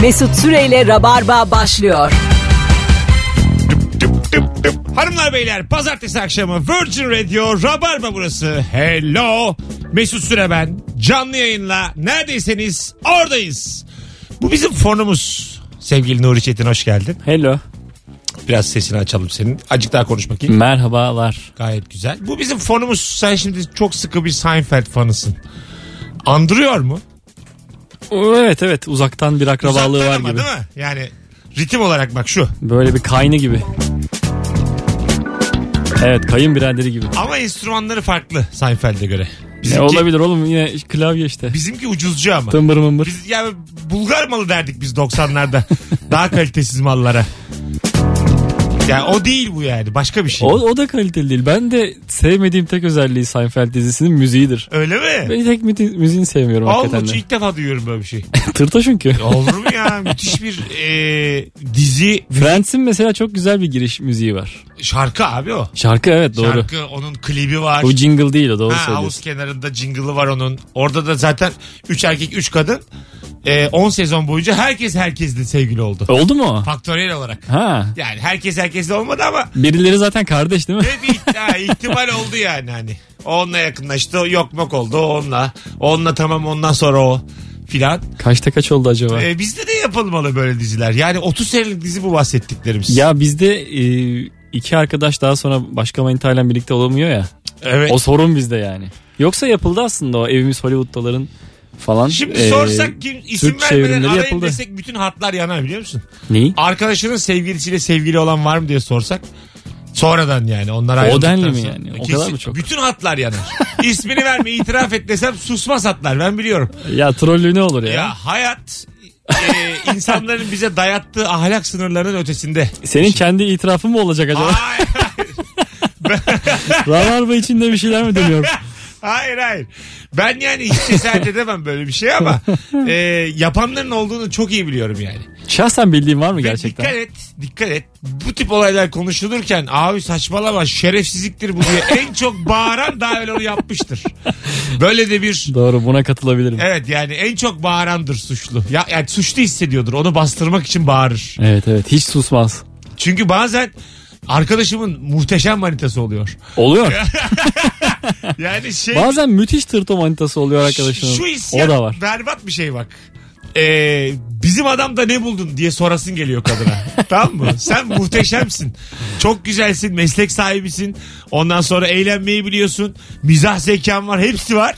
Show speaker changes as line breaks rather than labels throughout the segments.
Mesut Süreyle Rabarba başlıyor.
Hanımlar beyler pazartesi akşamı Virgin Radio Rabarba burası. Hello. Mesut Süre ben. Canlı yayınla neredeyseniz oradayız. Bu bizim fonumuz. Sevgili Nuri Çetin hoş geldin.
Hello.
Biraz sesini açalım senin. Acık daha konuş bakayım.
Merhabalar.
Gayet güzel. Bu bizim fonumuz. Sen şimdi çok sıkı bir Seinfeld fanısın. Andırıyor mu?
Evet evet uzaktan bir akrabalığı
Uzaktan
var
ama
gibi.
Değil mi? Yani ritim olarak bak şu.
Böyle bir kaynı gibi. Evet kayınbiraderi gibi.
Ama enstrümanları farklı Seinfeld'e göre.
E, olabilir oğlum yine klavye işte.
Bizimki ucuzcu ama.
Tımbır mımbır.
Biz yani Bulgar malı derdik biz 90'larda. Daha kalitesiz mallara. Yani o değil bu yani. Başka bir şey.
O, o da kaliteli değil. Ben de sevmediğim tek özelliği Seinfeld dizisinin müziğidir.
Öyle mi?
Ben tek müzi- müziğini sevmiyorum hakikaten
Allah
de.
ilk defa duyuyorum böyle bir şey.
Tırta çünkü.
Olur mu ya? Müthiş bir e, dizi
Friends'in mesela çok güzel bir giriş müziği var.
şarkı abi o.
Şarkı evet doğru.
Şarkı onun klibi var.
O jingle değil o doğru
Ha,
söylüyorsun.
havuz kenarında jingle'ı var onun. Orada da zaten 3 erkek 3 kadın 10 sezon boyunca herkes herkesle sevgili oldu.
Oldu mu? o?
Faktöriyel olarak.
Ha.
Yani herkes herkesle olmadı ama
Birileri zaten kardeş değil mi?
Ve bir iht- ha, ihtimal oldu yani hani. O Onunla yakınlaştı. o Yok mok oldu. o Onunla. o Onunla tamam ondan sonra o filan.
Kaçta kaç oldu acaba?
Ee, bizde de yapılmalı böyle diziler. Yani 30 senelik dizi bu bahsettiklerimiz.
Ya bizde e, iki arkadaş daha sonra başka manitayla birlikte olamıyor ya.
evet.
O sorun bizde yani. Yoksa yapıldı aslında o evimiz Hollywood'daların falan.
Şimdi
e,
sorsak kim isim
Türk
vermeden
çevrimleri
arayın
yapıldı.
desek bütün hatlar yanar biliyor musun?
Neyi?
Arkadaşının sevgilisiyle sevgili olan var mı diye sorsak. Sonradan yani onlar ayrıldıktan
denli mi
sonra.
yani? O
Kesin-
kadar mı çok?
Bütün hatlar yanar. İsmini verme itiraf et desem susmaz hatlar ben biliyorum.
Ya trollü ne olur ya?
Ya hayat e, insanların bize dayattığı ahlak sınırlarının ötesinde.
Senin kendi itirafın mı olacak acaba?
Hayır
Rabarba içinde bir şeyler mi dönüyor?
hayır. hayır. Ben yani hiç cesaret edemem böyle bir şey ama e, yapanların olduğunu çok iyi biliyorum yani.
Şahsen bildiğin var mı
Ve
gerçekten?
Dikkat et, dikkat et. Bu tip olaylar konuşulurken abi saçmalama şerefsizliktir bu diye en çok bağıran daha evvel onu yapmıştır. Böyle de bir
Doğru buna katılabilirim. Evet.
Evet yani en çok bağırandır suçlu. Ya yani suçlu hissediyordur. Onu bastırmak için bağırır.
evet hiç susmaz.
Çünkü bazen arkadaşımın muhteşem manitası oluyor.
Oluyor.
Yani şey
Bazen müthiş tırto manitası oluyor arkadaşının.
şu
o
isyan
da var.
berbat bir şey bak. Ee, bizim adamda ne buldun diye sorasın geliyor kadına. tamam mı? Sen muhteşemsin. Çok güzelsin. Meslek sahibisin. Ondan sonra eğlenmeyi biliyorsun. Mizah zekan var. Hepsi var.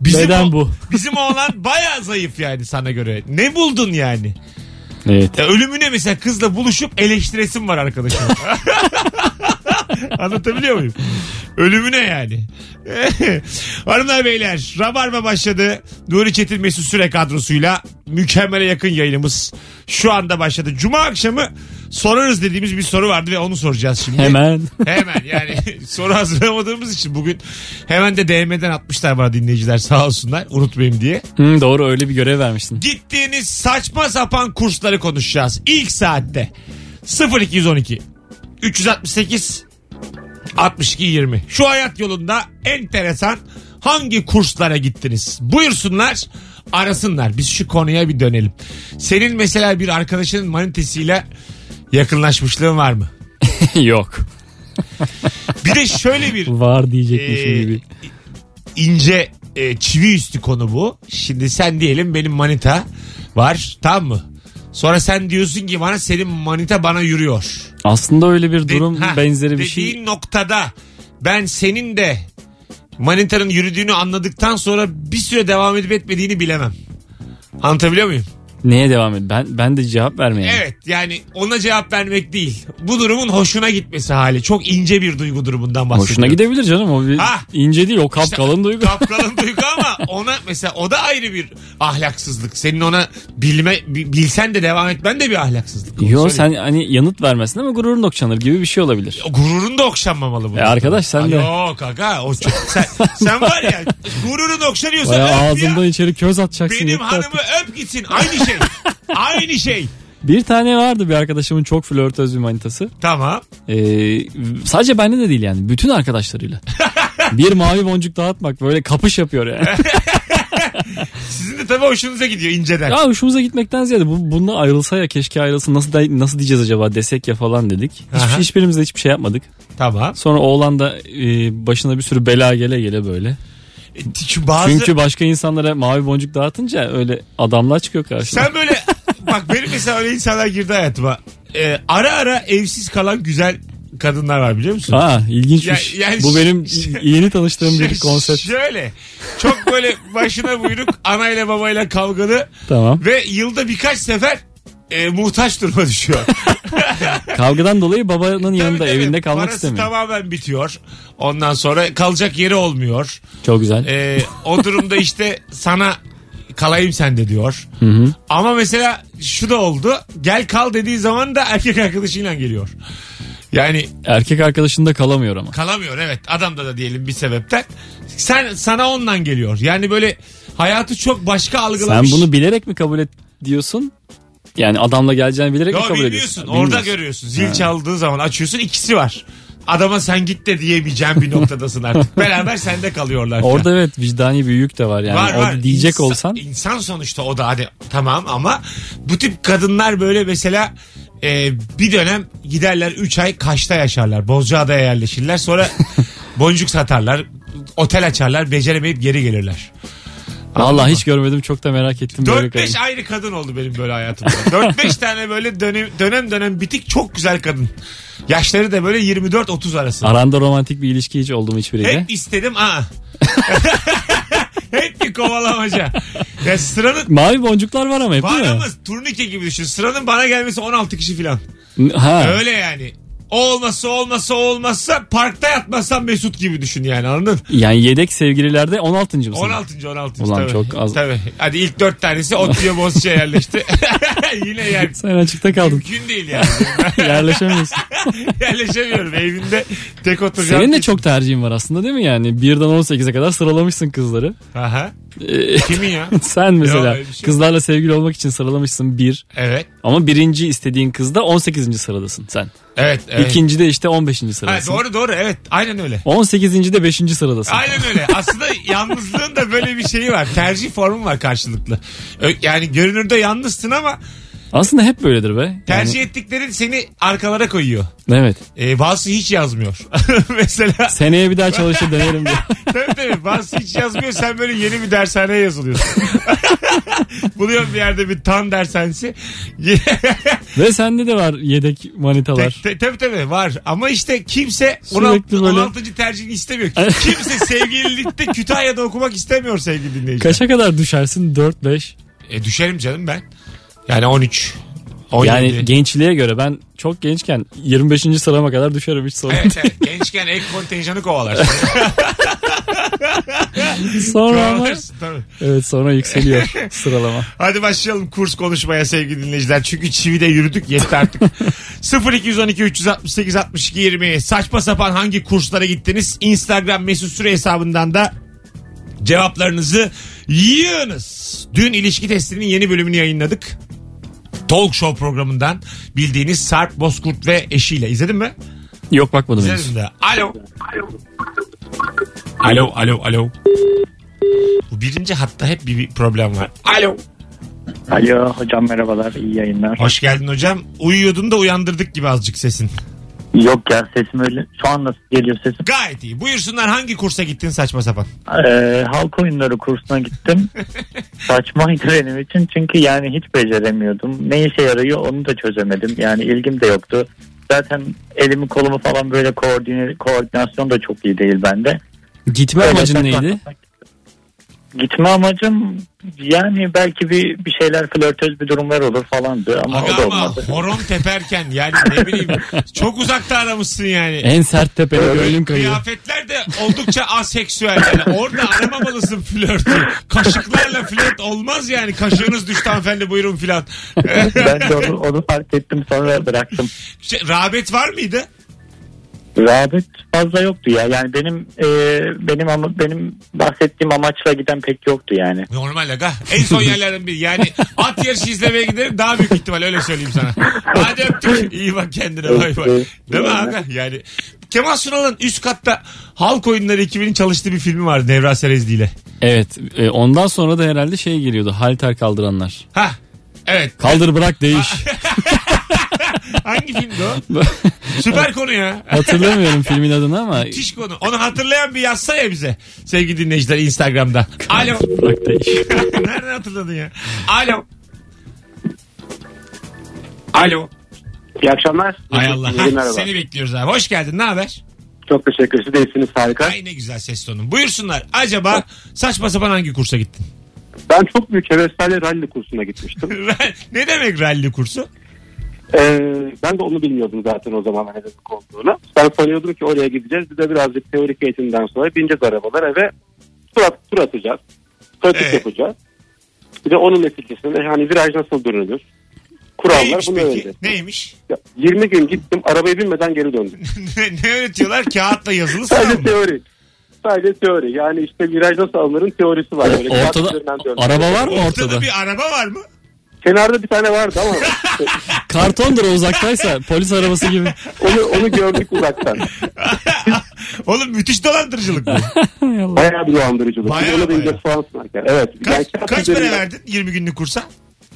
Bizim
Neden
o-
bu?
Bizim oğlan baya zayıf yani sana göre. Ne buldun yani?
Evet.
Ya ölümüne mesela kızla buluşup eleştiresim var arkadaşım. Anlatabiliyor muyum? Ölümüne yani. Hanımlar beyler Rabarba başladı. Nuri Çetin Mesut Süre kadrosuyla mükemmele yakın yayınımız şu anda başladı. Cuma akşamı sorarız dediğimiz bir soru vardı ve onu soracağız şimdi.
Hemen.
Hemen yani soru hazırlamadığımız için bugün hemen de DM'den atmışlar bana dinleyiciler sağ olsunlar unutmayayım diye.
Hı, doğru öyle bir görev vermişsin.
Gittiğiniz saçma sapan kursları konuşacağız. İlk saatte 0212 368 62 20. Şu hayat yolunda enteresan hangi kurslara gittiniz? Buyursunlar arasınlar. Biz şu konuya bir dönelim. Senin mesela bir arkadaşının manitesiyle yakınlaşmışlığın var mı?
Yok.
Bir de şöyle bir
Var diyecekmişim
Ee,
gibi.
ince e, çivi üstü konu bu. Şimdi sen diyelim benim manita var tamam mı? Sonra sen diyorsun ki bana senin manita bana yürüyor.
Aslında öyle bir
De-
durum
ha,
benzeri bir şey.
Dediğin noktada ben senin de manitanın yürüdüğünü anladıktan sonra bir süre devam edip etmediğini bilemem. Anlatabiliyor muyum?
Neye devam et? Ben ben de cevap vermeyeyim.
Evet yani ona cevap vermek değil. Bu durumun hoşuna gitmesi hali. Çok ince bir duygu durumundan bahsediyorum.
Hoşuna gidebilir canım o bir
Ha.
ince değil o kapkalın duygu.
Kapkalın duygu ama ona mesela o da ayrı bir ahlaksızlık. Senin ona bilme bi- bilsen de devam etmen de bir ahlaksızlık. Onu
Yo
söyleyeyim.
sen hani yanıt vermesin ama gururun okşanır gibi bir şey olabilir.
Gururun da okşanmamalı bu.
E, arkadaş sen
Ay,
de.
Yok aga o çok- sen, sen var ya gururun okşanıyorsa
Bayağı
öp ya.
ağzından içeri köz atacaksın.
Benim
yeter artık.
hanımı öp gitsin aynı şey. aynı şey.
Bir tane vardı bir arkadaşımın çok flörtöz bir manitası.
Tamam.
Ee, sadece bende de değil yani bütün arkadaşlarıyla. bir mavi boncuk dağıtmak böyle kapış yapıyor yani.
Sizin de tabii hoşunuza gidiyor inceden.
Ya hoşumuza gitmekten ziyade bu, bununla ayrılsa ya keşke ayrılsa nasıl da- nasıl diyeceğiz acaba desek ya falan dedik.
Aha.
Hiçbir, hiçbirimiz de hiçbir şey yapmadık.
Tamam.
Sonra oğlan da e, başına bir sürü bela gele gele böyle.
E, Çünkü bazı...
Çünkü başka insanlara mavi boncuk dağıtınca öyle adamlar çıkıyor karşına.
Sen böyle... bak benim mesela öyle insanlar girdi hayatıma. E, ara ara evsiz kalan güzel kadınlar var biliyor musun?
Ha ilginçmiş.
Ya- yani
bu
ş-
benim
ş-
yeni tanıştığım
Ş-
bir konsept.
Şöyle. Çok böyle başına buyruk anayla babayla kavgalı
Tamam.
ve yılda birkaç sefer e, muhtaç duruma düşüyor.
Kavgadan dolayı babanın yanında
Tabii, tabii.
evinde kalmak
Parası
istemiyor.
tamamen bitiyor. Ondan sonra kalacak yeri olmuyor.
Çok güzel.
E, o durumda işte sana kalayım sende diyor. Ama mesela şu da oldu. Gel kal dediği zaman da erkek arkadaşıyla geliyor. Yani
Erkek arkadaşında kalamıyor ama.
kalamıyor evet adamda da diyelim bir sebepten. Sen sana ondan geliyor. Yani böyle hayatı çok başka
Sen
algılamış.
bunu bilerek mi kabul et diyorsun? Yani adamla geleceğini bilerek mi
Yo,
kabul
biliyorsun
ediyorsun?
orada
Bilmiyorsun.
görüyorsun. Zil çaldığı zaman açıyorsun ikisi var. Adama sen git de diyemeyeceğim bir noktadasın artık. Beraber sende kalıyorlar. falan.
Orada evet vicdani bir yük de var yani.
Var,
orada
var.
diyecek
İnsan-
olsan
insan sonuçta o da hadi tamam ama bu tip kadınlar böyle mesela e, bir dönem giderler 3 ay Kaş'ta yaşarlar. Bozcaada'ya yerleşirler. Sonra boncuk satarlar. Otel açarlar. Beceremeyip geri gelirler.
vallahi hiç görmedim çok da merak ettim böyle
4-5
kadın.
ayrı kadın oldu benim böyle hayatımda. 4-5 tane böyle dönem, dönem dönem bitik çok güzel kadın. Yaşları da böyle 24-30 arası.
Aranda romantik bir ilişki hiç oldu mu hiçbiriyle?
Hep istedim aa. Hep bir kovalamaca. Ya sıranın
Mavi boncuklar var ama hep
Var
değil
ama turnike gibi düşün. Sıranın bana gelmesi 16 kişi falan.
mi? Ha.
Öyle yani. O olmazsa o olmazsa o olmazsa parkta yatmazsan Mesut gibi düşün yani anladın?
Yani yedek sevgililerde 16. mısın?
16. 16.
Ulan
tabii.
çok az.
Tabii. Hadi ilk 4 tanesi Otlu'ya Boğaziçi'ye yerleşti. Yine yer.
Sen açıkta kaldın.
Mümkün değil yani.
Yerleşemiyorsun.
Yerleşemiyorum evimde tek oturacağım.
Senin de çok tercihin var aslında değil mi yani? 1'den 18'e kadar sıralamışsın kızları.
Aha.
Ee,
Kimin ya?
Sen mesela
öyle bir şey yok.
kızlarla sevgili olmak için sıralamışsın 1.
Evet.
Ama birinci istediğin kızda 18. sıradasın sen.
Evet. evet.
İkinci de işte 15.
Ha,
sıradasın.
doğru doğru evet. Aynen öyle.
18. de 5. sıradasın.
Aynen öyle. Aslında yalnızlığın da böyle bir şeyi var. Tercih formu var karşılıklı. Ö- Yani görünürde yalnızsın ama
Aslında hep böyledir be. Yani-
tercih ettiklerin seni arkalara koyuyor.
evet.
Ee, bazısı hiç yazmıyor. Mesela
Seneye bir daha çalışır denerim diye.
tabii tabii bazısı hiç yazmıyor. Sen böyle yeni bir dershaneye yazılıyorsun. Buluyorum bir yerde bir tan dershanesi.
Ve sende de var yedek manitalar.
Te- te- tabii tabii var ama işte kimse
Sürekli
16.
böyle-
16. tercihini istemiyor. Kimse sevgililikte Kütahya'da okumak istemiyor sevgili dinleyiciler.
Kaça kadar düşersin? 4-5.
E düşerim canım ben. Yani 13. 17.
Yani gençliğe göre ben çok gençken 25. sırama kadar düşerim hiç sorun.
Evet, evet. gençken ek kontenjanı kovalarsın.
sonra ama
Kovalarsın, tabii.
evet sonra yükseliyor sıralama.
Hadi başlayalım kurs konuşmaya sevgili dinleyiciler. Çünkü çivide yürüdük yetti artık. 0212 368 62 20 saçma sapan hangi kurslara gittiniz? Instagram mesut süre hesabından da cevaplarınızı yığınız. Dün ilişki testinin yeni bölümünü yayınladık. Talk Show programından bildiğiniz Sarp Bozkurt ve eşiyle. izledin mi?
Yok bakmadım henüz.
İzledim de. Alo. Alo, alo, alo. Bu birinci hatta hep bir, bir problem var. Alo.
Alo hocam merhabalar iyi yayınlar.
Hoş geldin hocam. Uyuyordun da uyandırdık gibi azıcık sesin.
Yok ya sesim öyle şu an nasıl geliyor sesim.
Gayet iyi. Buyursunlar hangi kursa gittin saçma sapan?
Ee, halk oyunları kursuna gittim. Saçmaydı benim için çünkü yani hiç beceremiyordum. Ne işe yarıyor onu da çözemedim. Yani ilgim de yoktu. Zaten elimi kolumu falan böyle koordine, koordinasyon da çok iyi değil bende.
Gitme
Öyle
amacın
saçma
neydi?
sapan- Gitme amacım yani belki bir bir şeyler flörtöz bir durumlar olur falandı ama o
Aga
da
ama
olmadı.
horon teperken yani ne bileyim çok uzakta aramışsın yani.
En sert tepede gönlüm kayıyor.
Kıyafetler de oldukça aseksüel yani. Orada aramamalısın flörtü. Kaşıklarla flört olmaz yani. Kaşığınız düştü hanımefendi buyurun filan.
ben de onu, onu fark ettim sonra bıraktım.
Şey, rağbet var mıydı?
Rağbet fazla yoktu ya. Yani benim e, benim ama benim bahsettiğim amaçla giden pek yoktu yani.
Normal aga. En son yerlerden biri. Yani at yarışı izlemeye giderim daha büyük ihtimal öyle söyleyeyim sana. Hadi öptük. İyi bak kendine bay bay. Değil mi aga? Yani Kemal Sunal'ın üst katta halk oyunları ekibinin çalıştığı bir filmi vardı Nevra Serezli ile.
Evet. e, ondan sonra da herhalde şey geliyordu. Halter kaldıranlar.
Ha evet.
Kaldır bırak değiş.
Hangi filmdi o? Süper konu ya.
Hatırlamıyorum filmin adını ama
Müthiş konu. Onu hatırlayan bir yazsa ya bize. Sevgili dinleyiciler Instagram'da. Alo.
bırak değiş.
Nereden hatırladın ya? Alo. Alo.
İyi akşamlar.
Hay Allah.
İyi günler,
Ha,
merhaba.
Seni bekliyoruz abi. Hoş geldin. Ne haber?
Çok teşekkür ederim. Değilsiniz harika.
Ay ne güzel ses tonun. Buyursunlar. Acaba saçma sapan hangi kursa gittin?
Ben çok büyük heveslerle rally kursuna gitmiştim.
ne demek rally kursu?
Ee, ben de onu bilmiyordum zaten o zaman hani dedik olduğunu. Ben sanıyordum ki oraya gideceğiz. Bir de birazcık teorik eğitimden sonra bineceğiz arabalara ve tur, at, tur atacağız. Pratik
Evet.
yapacağız. Bir de onun neticesinde hani viraj nasıl dönülür? Kurallar
Neymiş
bunu
peki?
öğreneceğiz.
Neymiş?
Ya, 20 gün gittim arabaya binmeden geri döndüm.
ne, ne öğretiyorlar? Kağıtla yazılı sınav
Sadece
mı?
teori. Sadece teori. Yani işte viraj nasıl alınırın teorisi var. Böyle
Ortada
kağıt üzerinden dönmek.
araba var mı
Ortada
ortada?
bir araba var mı?
Kenarda bir tane vardı ama
Kartondur o uzaktaysa polis arabası gibi.
onu, onu gördük uzaktan.
Oğlum müthiş dolandırıcılık bu.
Bayağı bir dolandırıcılık.
Bayağı,
Bayağı, Ona da
bayağı.
ince soğan sunarken. Evet. kağıt
Kaç, kaç para
üzerinde-
verdin 20 günlük kursa?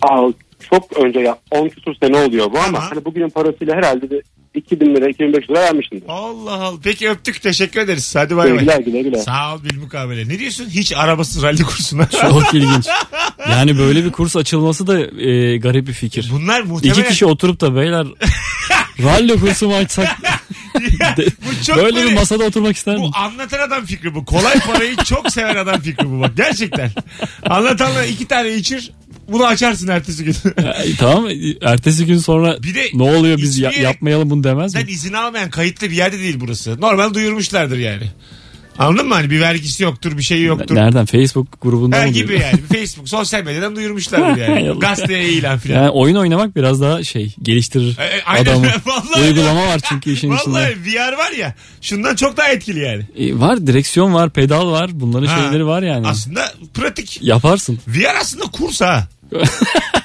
Aa, çok önce ya 10 küsur sene oluyor bu ama
Tamam.
hani bugünün parasıyla herhalde de 2000 lira 2500 lira vermişimdir.
Allah Allah. Peki öptük. Teşekkür ederiz. Hadi bay bay.
Güle güle güle.
Sağ ol bilmukabele. Ne diyorsun? Hiç arabasız rally kursuna.
Çok ilginç. Yani böyle bir kurs açılması da e, garip bir fikir.
Bunlar
İki
muhtemelen...
kişi oturup da beyler rallo kursu mu açsak
bu çok
böyle bir masada oturmak ister mi?
Bu anlatan adam fikri bu. Kolay parayı çok seven adam fikri bu bak. Gerçekten. Anlatanla iki tane içir. Bunu açarsın ertesi gün.
E, tamam ertesi gün sonra
Bir de
ne oluyor biz ya-
hiçbir-
yapmayalım bunu demez mi?
Sen izin almayan kayıtlı bir yerde değil burası. Normal duyurmuşlardır yani. Anladın mı? Hani bir vergisi yoktur, bir şeyi yoktur.
Nereden Facebook grubundan
Her
mı
gibi
diyor?
yani. Facebook, sosyal medyadan duyurmuşlardır yani.
Yallah.
Gazeteye ilan filan.
Yani oyun oynamak biraz daha şey geliştirir
E, e, aynen.
adamı.
Vallahi.
Uygulama var çünkü işin içinde.
Vallahi VR var ya şundan çok daha etkili yani.
E, var direksiyon var pedal var bunların
Ha.
şeyleri var yani.
Aslında pratik.
Yaparsın.
VR aslında kurs ha.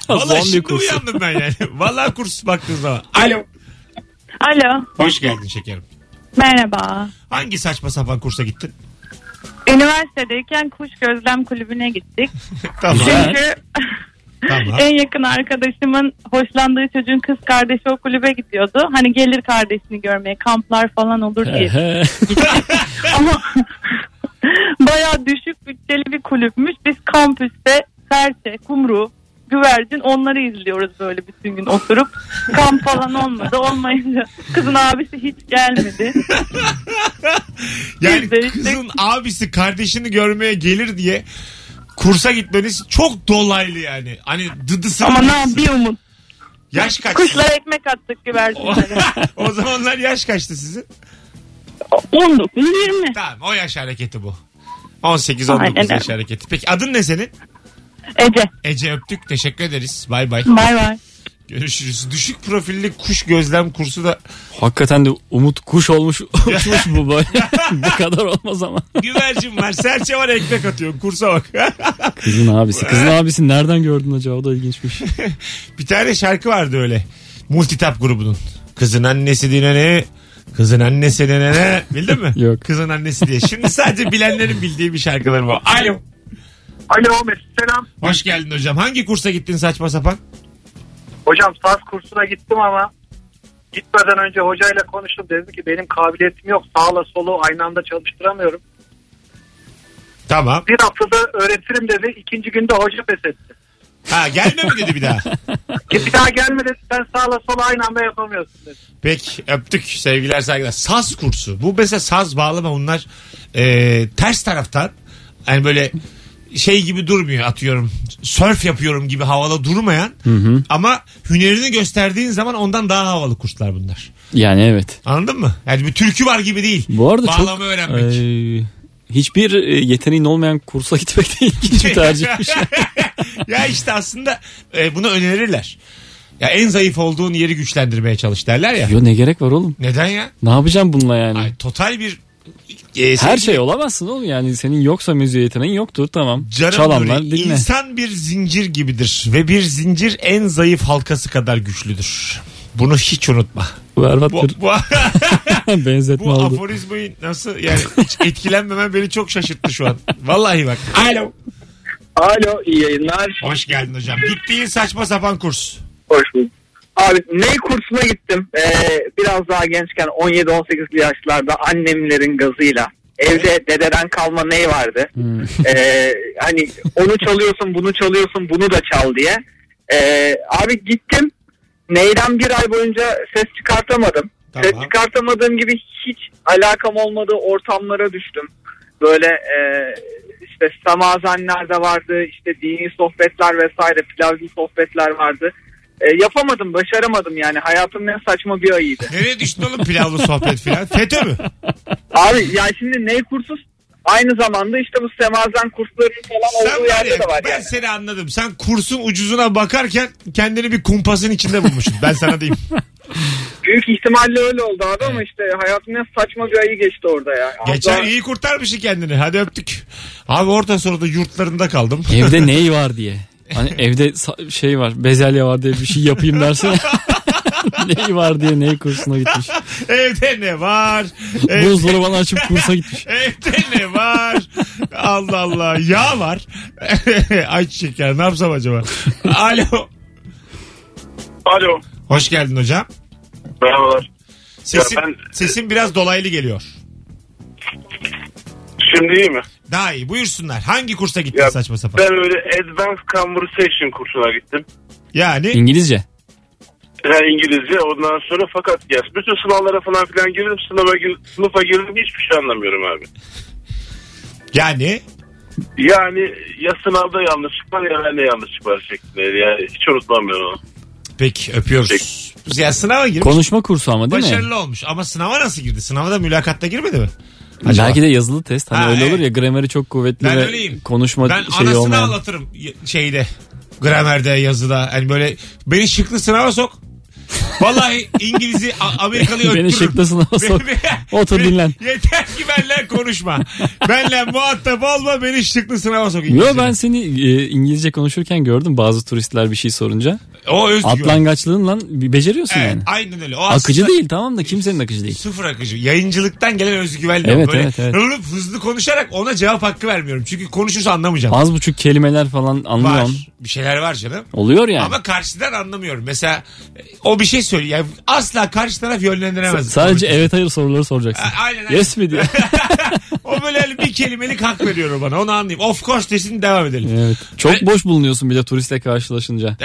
Vallahi
Zombi
şimdi
kursu.
uyandım ben yani. Vallahi kurs baktığın zaman. Alo.
Alo,
Hoş geldin şekerim.
merhaba.
Hangi saçma sapan kursa gittin?
Üniversitedeyken Kuş Gözlem Kulübü'ne gittik.
tamam.
Güzel.
Çünkü
tamam.
en yakın arkadaşımın hoşlandığı çocuğun kız kardeşi o kulübe gidiyordu. Hani gelir kardeşini görmeye, kamplar falan olur diye.
Ehe.
Ama bayağı düşük bütçeli bir kulüpmüş. Biz kampüste serçe, kumru, güvercin onları izliyoruz böyle bütün gün oturup. Kamp falan olmadı. Olmayınca kızın abisi hiç gelmedi.
Yani
Biz de işte-
kızın abisi kardeşini görmeye gelir diye kursa gitmeniz çok dolaylı yani. Hani dıdısı.
Ama ne yap- bir umut.
Yaş kaç? Oh.
Kuşlara ekmek attık güvercinlere.
o zamanlar yaş kaçtı sizin?
19 20.
Tamam o yaş hareketi bu. 18-19
Aynen
yaş hareketi. Peki adın ne senin?
Ece.
Ece öptük. Teşekkür ederiz. Bay bay.
Bay bay.
Görüşürüz. Düşük profilli kuş gözlem kursu da
Hakikaten de Umut kuş olmuş uçmuş bu böyle. bu kadar olmaz ama.
güvercin var. Serçe var ekmek atıyor. Kursa bak.
Kızın abisi. Kızın abisi nereden gördün acaba? O da ilginçmiş.
Bir tane şarkı vardı öyle. Multitap grubunun. Kızın annesi dinene, kızın annesi dinene. Bildin mi?
Yok.
Kızın annesi diye. Şimdi sadece bilenlerin bildiği bir şarkılar bu. Alo.
Alo Mesut selam.
Hoş geldin hocam. Hangi kursa gittin saçma sapan?
Hocam saz kursuna gittim ama gitmeden önce hocayla konuştum. Dedi ki benim kabiliyetim yok. Sağla solu aynı anda çalıştıramıyorum.
Tamam.
Bir haftada öğretirim dedi. İkinci günde hoca pes etti.
Ha gelme mi dedi bir daha.
Ki bir daha gelme dedi. Sen sağla solu aynı anda yapamıyorsun dedi.
Peki öptük sevgiler saygılar. Saz kursu. Bu mesela saz bağlama bunlar e, ters taraftan hani böyle şey gibi durmuyor atıyorum. Sörf yapıyorum gibi havada durmayan ama hünerini gösterdiğin zaman ondan daha havalı kurslar bunlar.
Yani evet.
Anladın mı? Yani bir türkü var gibi değil.
Bu arada
Bağlama
çok...
öğrenmek.
Ee, hiçbir e, yeteneğin olmayan kursa gitmek de ilginç bir tercihmiş.
ya işte aslında e, bunu önerirler. Ya en zayıf olduğun yeri güçlendirmeye çalış derler ya.
Yo ne gerek var oğlum?
Neden ya?
Ne yapacağım bununla yani?
Ay, total bir e,
Her şey olamazsın oğlum yani senin yoksa müziğe yeteneğin yoktur tamam.
Canım
Çalanlar
Nuri,
dinle.
insan bir zincir gibidir ve bir zincir en zayıf halkası kadar güçlüdür. Bunu hiç unutma.
Berbat
Bu,
bir
bu,
benzetme
bu
oldu.
aforizmayı nasıl yani hiç etkilenmemen beni çok şaşırttı şu an. Vallahi bak. Alo.
Alo iyi yayınlar.
Hoş geldin hocam. Gittiğin saçma sapan kurs.
Hoş bulduk. Abi ney kursuna gittim. Ee, biraz daha gençken 17-18'li yaşlarda annemlerin gazıyla. Evde dededen kalma ney vardı. Ee, hani onu çalıyorsun bunu çalıyorsun bunu da çal diye. Ee, abi gittim. Neyden bir ay boyunca ses çıkartamadım.
Tamam.
Ses çıkartamadığım gibi hiç alakam olmadığı ortamlara düştüm. Böyle e, işte samazenler de vardı, işte dini sohbetler vesaire, pilavcı sohbetler vardı. E, yapamadım, başaramadım yani. Hayatımın en saçma bir ayıydı.
Nereye düştün oğlum pilavlı sohbet filan? FETÖ mü?
Abi ya şimdi ney kursu aynı zamanda işte bu semazen kurslarının falan
Sen
olduğu
var
yerde
ya,
de var
ben
yani.
seni anladım. Sen kursun ucuzuna bakarken kendini bir kumpasın içinde bulmuşsun. Ben sana diyeyim.
Büyük ihtimalle öyle oldu abi ama işte hayatımın en saçma bir ayı geçti orada ya.
Geçen
Abla-
iyi kurtarmışsın kendini. Hadi öptük. Abi orta sonra da yurtlarında kaldım.
Evde ney var diye. Hani evde sa- şey var bezelye var diye bir şey yapayım dersen ney var diye ney kursuna gitmiş.
Evde ne var? Ev-
Buzdolabını açıp kursa gitmiş.
Evde ne var? Allah Allah. Yağ var. Ayçiçek yağı. Ne yapsam acaba? Alo.
Alo.
Hoş geldin hocam.
Merhabalar.
Sesin,
Ya ben-
sesin biraz dolaylı geliyor.
Şimdi iyi mi?
Daha iyi. Buyursunlar. Hangi kursa gittin
Ya
saçma sapan?
Ben öyle Advanced Conversation kursuna gittim.
Yani
İngilizce.
Yani İngilizce ondan sonra fakat ya bütün sınavlara falan filan girdim sınava gir- sınıfa girdim hiçbir şey anlamıyorum abi.
yani
Yani ya sınavda yanlışlık var ya bende yanlışlık var şeklinde yani hiç unutmam ben onu.
peki öpüyoruz. Ya sınava girmiş.
Konuşma kursu ama değil mi?
Başarılı olmuş. Ama sınava nasıl girdi? Sınava da mülakatta girmedi mi? Acaba?
Hani Belki de yazılı test. Hani
Ha,
öyle olur
evet.
ya grameri çok kuvvetli
Ben
ve
öyleyim.
konuşma
ben
şeyi
anasını
olmayan.
anlatırım y- şeyde. Gramerde, yazıda. Hani böyle beni şıklı sınava sok. Vallahi İngiliz'i A- Amerikalı'yı
Beni
öttürürüm.
şıklı sınava sok. Otur dinlen.
Yeter ki benle konuşma. benle muhatap olma beni şıklı sınava sok.
Yo
İngilizce'de.
ben seni e, İngilizce konuşurken gördüm bazı turistler bir şey sorunca.
O özgüven.
Atlangaçlığınla bir beceriyorsun
Evet,
yani.
aynen öyle. O
Akıcı
aslında
değil tamam da kimsenin akıcı değil.
Sıfır akıcı. Yayıncılıktan gelen özgüvenle.
Evet,
Böyle
evet, evet.
hırlıp hızlı konuşarak ona cevap hakkı vermiyorum. Çünkü konuşursa anlamayacağım.
Az buçuk kelimeler falan
var.
anlıyorum.
Bir şeyler var canım.
Oluyor yani.
Ama karşıdan anlamıyorum. Mesela e, o bir şey söylüyor. Yani asla karşı taraf
S-
yönlendiremez.
Sadece
Böyle-
evet hayır soruları soracaksın.
şey. A- Aynen. aynen.
Yes mi diyor.
o böyle hani bir kelimelik hak veriyor bana. Onu anlayayım. Of course desin devam edelim. Evet.
evet. Çok
Ve-
boş bulunuyorsun bir de turistle karşılaşınca.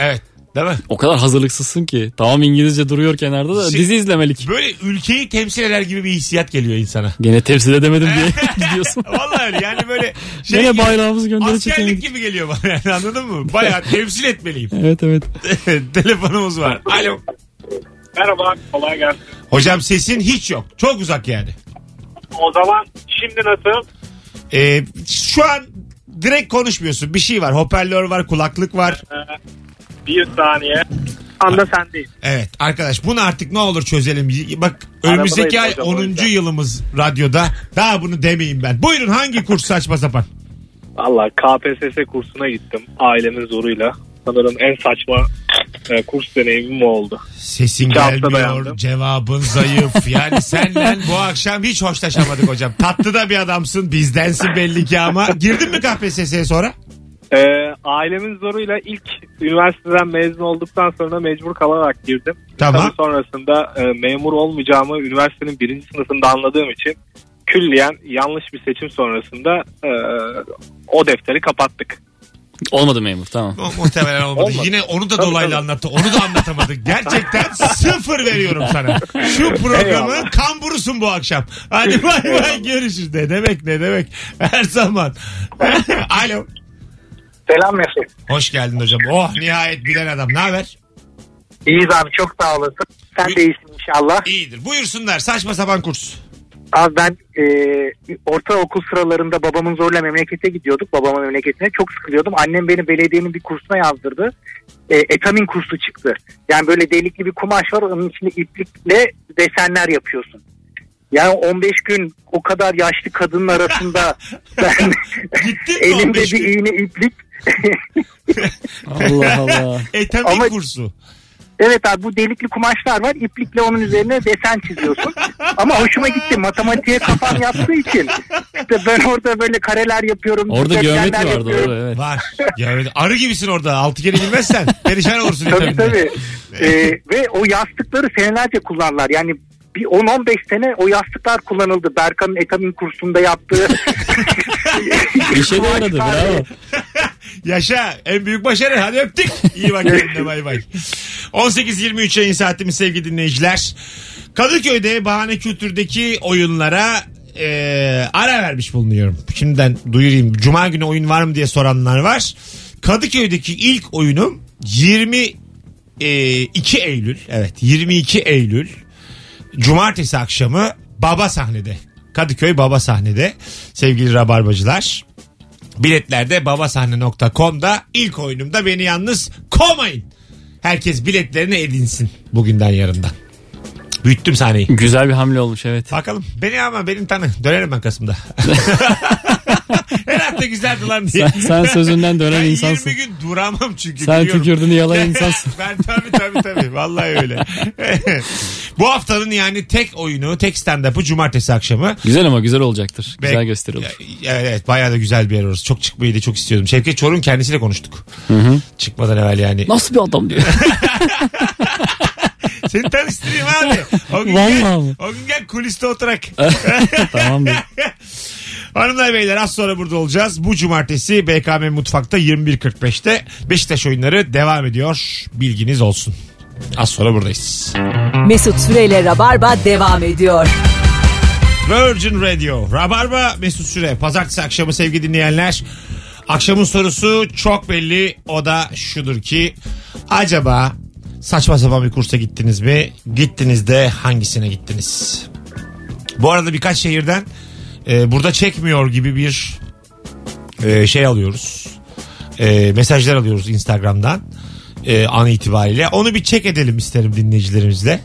Değil mi?
O kadar hazırlıksızsın ki. Tamam İngilizce duruyor kenarda da
Şey-
dizi izlemelik.
Böyle ülkeyi temsil eder gibi bir hissiyat geliyor insana.
Gene temsil edemedim diye gidiyorsun.
Vallahi öyle yani böyle şey
Gene
gibi,
bayrağımızı gönderi
askerlik
çekemedik.
gibi geliyor bana yani anladın mı? Bayağı temsil etmeliyim.
Evet evet.
Telefonumuz var. Alo.
Merhaba kolay gelsin.
Hocam sesin hiç yok. Çok uzak yani.
O zaman şimdi nasıl?
Ee, şu an direkt konuşmuyorsun. Bir şey var. Hoparlör var, kulaklık var.
Bir saniye.
Anda sendeyim.
Evet arkadaş bunu artık ne olur çözelim. Y- Bak önümüzdeki ay
Arabadayız hocam,
10.
o yüzden.
yılımız radyoda. Daha bunu demeyeyim ben. Buyurun hangi kurs saçma sapan?
Valla KPSS kursuna gittim ailemin zoruyla. Sanırım en saçma e, kurs deneyimim o oldu.
Sesin
İki hafta
gelmiyor,
dayandım.
cevabın zayıf. Yani senden bu akşam hiç hoşlaşamadık hocam. Tatlı da bir adamsın, bizdensin belli ki ama. Girdin mi KPSS'ye sonra?
E, ailemin zoruyla ilk üniversiteden mezun olduktan sonra mecbur kalarak girdim.
Tamam.
Tabii sonrasında e, memur olmayacağımı üniversitenin birinci sınıfında anladığım için külliyen yanlış bir seçim sonrasında e, o defteri kapattık.
Olmadı memur tamam.
O muhtemelen olmadı. Yine onu da dolaylı anlattı. Onu da anlatamadık. Gerçekten sıfır veriyorum sana. Şu programı kamburusun bu akşam. Hadi bay bay görüşürüz. Ne demek ne demek. Her zaman. Alo.
Selam Mesut.
Hoş geldin hocam. Oh nihayet bilen adam. Ne haber?
İyiyiz abi çok sağ olasın. Sen de iyisin inşallah.
İyidir. Buyursunlar. Saçma sapan kurs.
Abi ben e, ortaokul sıralarında babamın zorla memlekete gidiyorduk. Babamın memleketine çok sıkılıyordum. Annem beni belediyenin bir kursuna yazdırdı. E, etamin kursu çıktı. Yani böyle delikli bir kumaş var. Onun içinde iplikle desenler yapıyorsun. Yani 15 gün o kadar yaşlı kadının arasında ben
Gittin mi
elimde
15
bir
gün?
iğne iplik
Allah Allah.
Etamin
Ama-
E, kursu.
Evet abi bu delikli kumaşlar var. İplikle onun üzerine desen çiziyorsun. Ama hoşuma gitti. Matematiğe kafam yaptığı için. İşte ben orada böyle kareler yapıyorum.
Orada
dikdörtgenler
geometri vardı
yapıyorum.
orada evet.
Var. Ya öyle arı gibisin orada. Altı kere bilmezsen perişan olursun.
Tabii tabii. Ee, ve o yastıkları senelerce kullanlar. Yani bir 10-15 sene o yastıklar kullanıldı. Berkan'ın etamin kursunda yaptığı.
Bir şey de aradı bravo.
Yaşa. En büyük başarı. Hadi öptük. İyi bak kendine bay bay. 18-23 yayın saatimiz sevgili dinleyiciler. Kadıköy'de bahane kültürdeki oyunlara e, ara vermiş bulunuyorum. Şimdiden duyurayım. Cuma günü oyun var mı diye soranlar var. Kadıköy'deki ilk oyunum 20 e, 2 Eylül. Evet 22 Eylül. Cumartesi akşamı Baba sahnede. Kadıköy Baba sahnede sevgili rabarbacılar. Biletlerde babasahne.com'da ilk oyunumda beni yalnız kovmayın. Herkes biletlerini edinsin bugünden yarından. Büyüttüm sahneyi.
Güzel bir hamle olmuş evet.
Bakalım beni ama benim tanı. Dönerim ben Kasım'da. Her hafta güzeldi lan diye.
Sen, sen sözünden dönen
Ben
insansın.
20 gün duramam çünkü.
Sen
biliyorum.
tükürdüğünü yalan insansın.
ben tabii tabii tabii. Vallahi öyle. Bu haftanın yani tek oyunu, tek stand-up'ı cumartesi akşamı.
Güzel ama güzel olacaktır. Güzel
Bek-
gösteri olur.
Ya- Evet bayağı da güzel bir yer orası. Çok çıkmayı da çok istiyordum. Şevket Çorun kendisiyle konuştuk. Çıkmadan evvel yani.
Nasıl bir adam diyor.
Seni tanıştırayım abi. O gün, gel,
Vallahi mi? Ee,
o gün gel kuliste oturak.
Tamamdır.
Hanımlar beyler az sonra burada olacağız. Bu cumartesi BKM Mutfak'ta 21.45'te Beşiktaş oyunları devam ediyor. Bilginiz olsun. Az sonra buradayız.
Mesut Süreyle Rabarba devam ediyor.
Virgin Radio. Rabarba Mesut Süre. Pazartesi akşamı sevgili dinleyenler. Akşamın sorusu çok belli. O da şudur ki acaba saçma sapan bir kursa gittiniz mi? Gittiniz de hangisine gittiniz? Bu arada birkaç şehirden e, burada çekmiyor gibi bir e, şey alıyoruz. E, mesajlar alıyoruz Instagram'dan e, an itibariyle. Onu bir çek edelim isterim dinleyicilerimizle.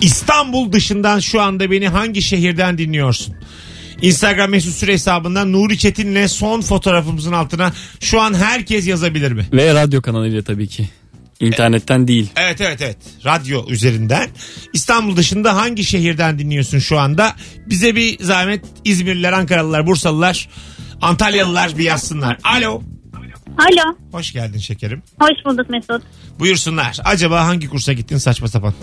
İstanbul dışından şu anda beni hangi şehirden dinliyorsun? Instagram mesut süre hesabından Nuri Çetin'le son fotoğrafımızın altına şu an herkes yazabilir mi?
Ve radyo kanalıyla tabii ki. İnternetten değil.
Evet evet evet. Radyo üzerinden. İstanbul dışında hangi şehirden dinliyorsun şu anda? Bize bir zahmet İzmirliler, Ankaralılar, Bursalılar, Antalyalılar bir yazsınlar. Alo.
Alo,
Hoş geldin şekerim.
hoş bulduk Mesut.
Buyursunlar. Acaba hangi kursa gittin saçma sapan?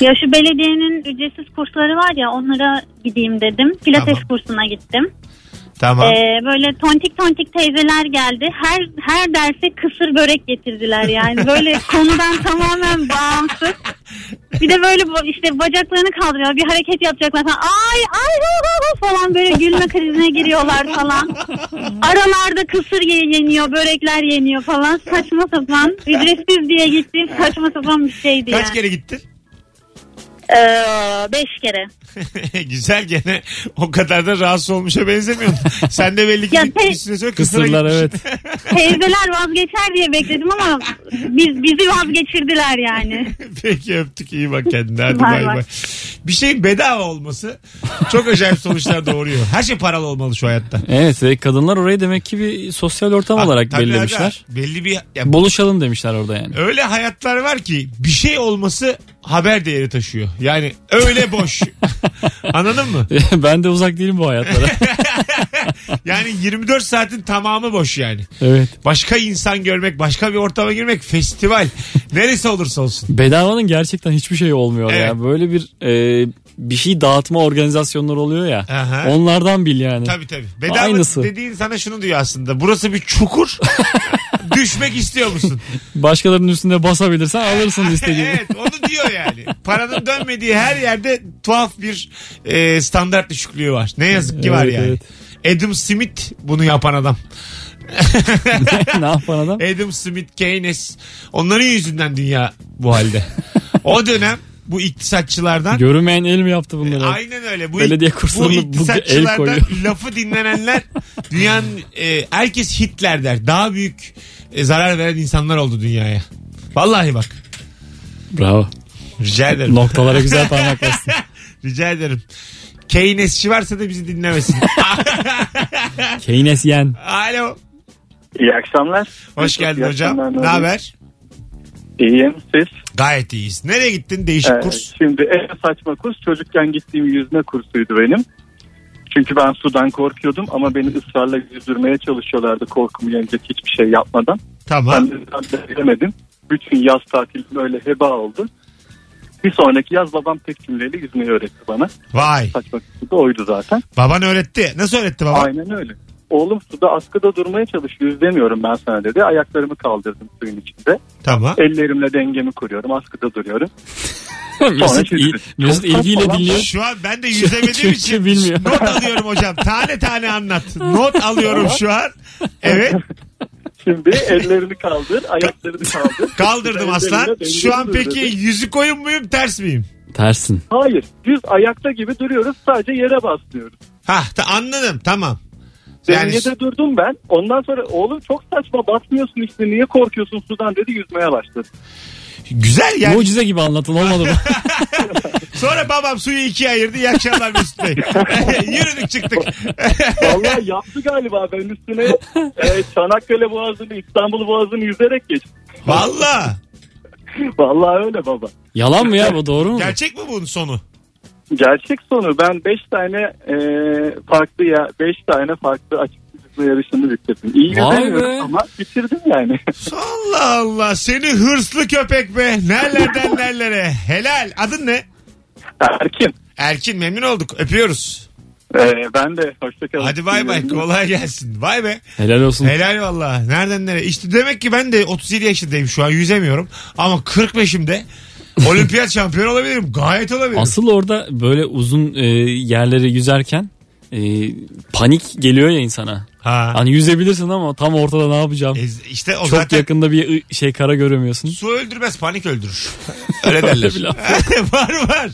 Ya şu belediyenin ücretsiz kursları var ya onlara gideyim dedim. Pilates
Tamam.
kursuna gittim.
Tamam.
Ee, böyle tontik tontik teyzeler geldi. Her her derse kısır börek getirdiler yani. Böyle konudan tamamen bağımsız. Bir de böyle bu- işte bacaklarını kaldırıyor. Bir hareket yapacaklar falan. Ay ay hu, hu, hu falan böyle gülme krizine giriyorlar falan. Aralarda kısır ye- yeniyor, börekler yeniyor falan. Saçma sapan. Ücretsiz diye gittiğim saçma sapan bir şeydi
Kaç
yani.
kere gittin?
Ee, beş kere.
Güzel gene o kadar da rahatsız olmuşa benzemiyorsun. Sen de belli ki
Ya şey,
bir-
te-
bir süre sonra kısıra
Kısırlar
gitmişsin.
evet.
Teyzeler vazgeçer diye bekledim ama biz bizi vazgeçirdiler yani.
Peki öptük iyi bak kendine hadi
Bay
bay
bay.
bay. Bir şeyin bedava olması çok acayip sonuçlar doğuruyor. Her şey paralı olmalı şu hayatta.
Evet ve kadınlar orayı demek ki bir sosyal ortam olarak
Ah, Tabii ah.
belirlemişler.
aga, Belli bir ya
Buluşalım demişler orada yani.
öyle hayatlar var ki bir şey olması haber değeri taşıyor. Yani öyle boş. Anladın mı?
ben de uzak değilim bu hayatlara.
Yani 24 saatin tamamı boş yani.
evet.
Başka insan görmek, başka bir ortama girmek, festival. Neresi olursa olsun.
Bedavanın gerçekten hiçbir şey olmuyor
Evet.
ya. Böyle bir e, bir şey dağıtma organizasyonları oluyor ya.
Aha.
Onlardan bil yani.
Tabii tabii. Bedava
Aynısı.
dediğin sana şunu diyor aslında. Burası bir çukur. Düşmek istiyor musun?
Başkalarının üstüne basabilirsen alırsın istediğini.
evet onu diyor yani. Paranın dönmediği her yerde tuhaf bir e, standart düşüklüğü var. Ne yazık ki var
Evet,
yani. Adam Smith bunu yapan adam.
ne yapan adam?
Adam Smith, Keynes. Onların yüzünden dünya bu halde. o dönem bu iktisatçılardan
Görünmeyen el mi yaptı bunları?
Aynen öyle. Bu,
Belediye
bu
kurslarına bu el
iktisatçılardan
koyuyor.
lafı dinlenenler dünyanın e, herkes Hitler der. Daha büyük e, zarar veren insanlar oldu dünyaya. Vallahi bak.
Bravo.
Rica ederim.
Noktalara güzel parmak bastın.
Rica ederim. Keynesçi varsa da bizi dinlemesin.
Keynesyen.
Alo.
İyi akşamlar.
Hoş geldin
İyi
hocam.
akşamlar,
Ne haber?
İyiyim siz.
Gayet iyiyiz. Nereye gittin değişik
Ee,
kurs?
Şimdi en saçma kurs çocukken gittiğim yüzme kursuydu benim. Çünkü ben sudan korkuyordum ama beni ısrarla yüzdürmeye çalışıyorlardı korkumu yenecek hiçbir şey yapmadan. Ben
Tamam.
de ısrar veremedim. Bütün yaz tatilim öyle heba oldu. Bir sonraki yaz babam tek cümleyle yüzmeyi öğretti bana.
Vay.
Saçma kursu da oydu zaten.
Baban öğretti. Nasıl öğretti baba?
Aynen öyle. Oğlum suda askıda durmaya çalış yüzemiyorum ben sana dedi. Ayaklarımı kaldırdım suyun içinde.
Tamam.
Ellerimle dengemi kuruyorum askıda duruyorum.
Mesut,
çizdi.
iyi- Mesut
Çok
ilgiyle
saçma
dinliyor.
Şu an ben de yüzemediğim için
Türkçe bilmiyor.
not alıyorum hocam. Tane tane anlat. Not alıyorum şu an. Evet.
Şimdi ellerini kaldır, ayaklarını kaldır.
Kaldırdım
Ellerini
aslan.
dengeli
Şu an
dur
peki
dedi.
yüzü koyun muyum ters miyim?
Tersin.
Hayır, düz ayakta gibi duruyoruz. Sadece yere basmıyoruz.
Ha anladım tamam. Yani
Dengede durdum ben. Ondan sonra oğlum çok saçma basmıyorsun işte niye korkuyorsun sudan dedi yüzmeye başladı.
güzel yani.
Mucize gibi anlatın olmadı mı?
Sonra babam suyu ikiye ayırdı. İyi akşamlar Mesut Bey. Yürüdük çıktık.
Vallahi yaptı galiba ben üstüne e, Çanakkale Boğazı'nı İstanbul Boğazı'nı yüzerek geçtim.
Valla.
Vallahi öyle baba.
Yalan mı ya bu doğru mu?
Gerçek mi bunun sonu?
Gerçek sonu ben 5 tane e, farklı ya 5 tane farklı açık yüzme yarışını bitirdim. İyi
Vay
yüzemiyorum
be.
ama bitirdim yani.
Allah Allah. Seni hırslı köpek be. Nerelerden nerelere. Helal. Adın ne?
Erkin.
Erkin memnun olduk. Öpüyoruz.
Ee, ben de hoşçakalın.
Hadi bay bay. Kolay gelsin. Vay be.
Helal olsun.
Helal valla. Nereden nereye? İşte demek ki ben de 37 yaşındayım şu an yüzemiyorum. Ama 45'imde olimpiyat şampiyonu olabilirim. Gayet olabilirim.
Asıl orada böyle uzun e, yerlere yüzerken e, panik geliyor ya insana.
ha.
Hani yüzebilirsin ama tam ortada ne yapacağım?
E, işte o
Çok
zaten
yakında bir ı- şey kara göremiyorsun.
su öldürmez panik öldürür. Öyle derler.
bir laf
var var.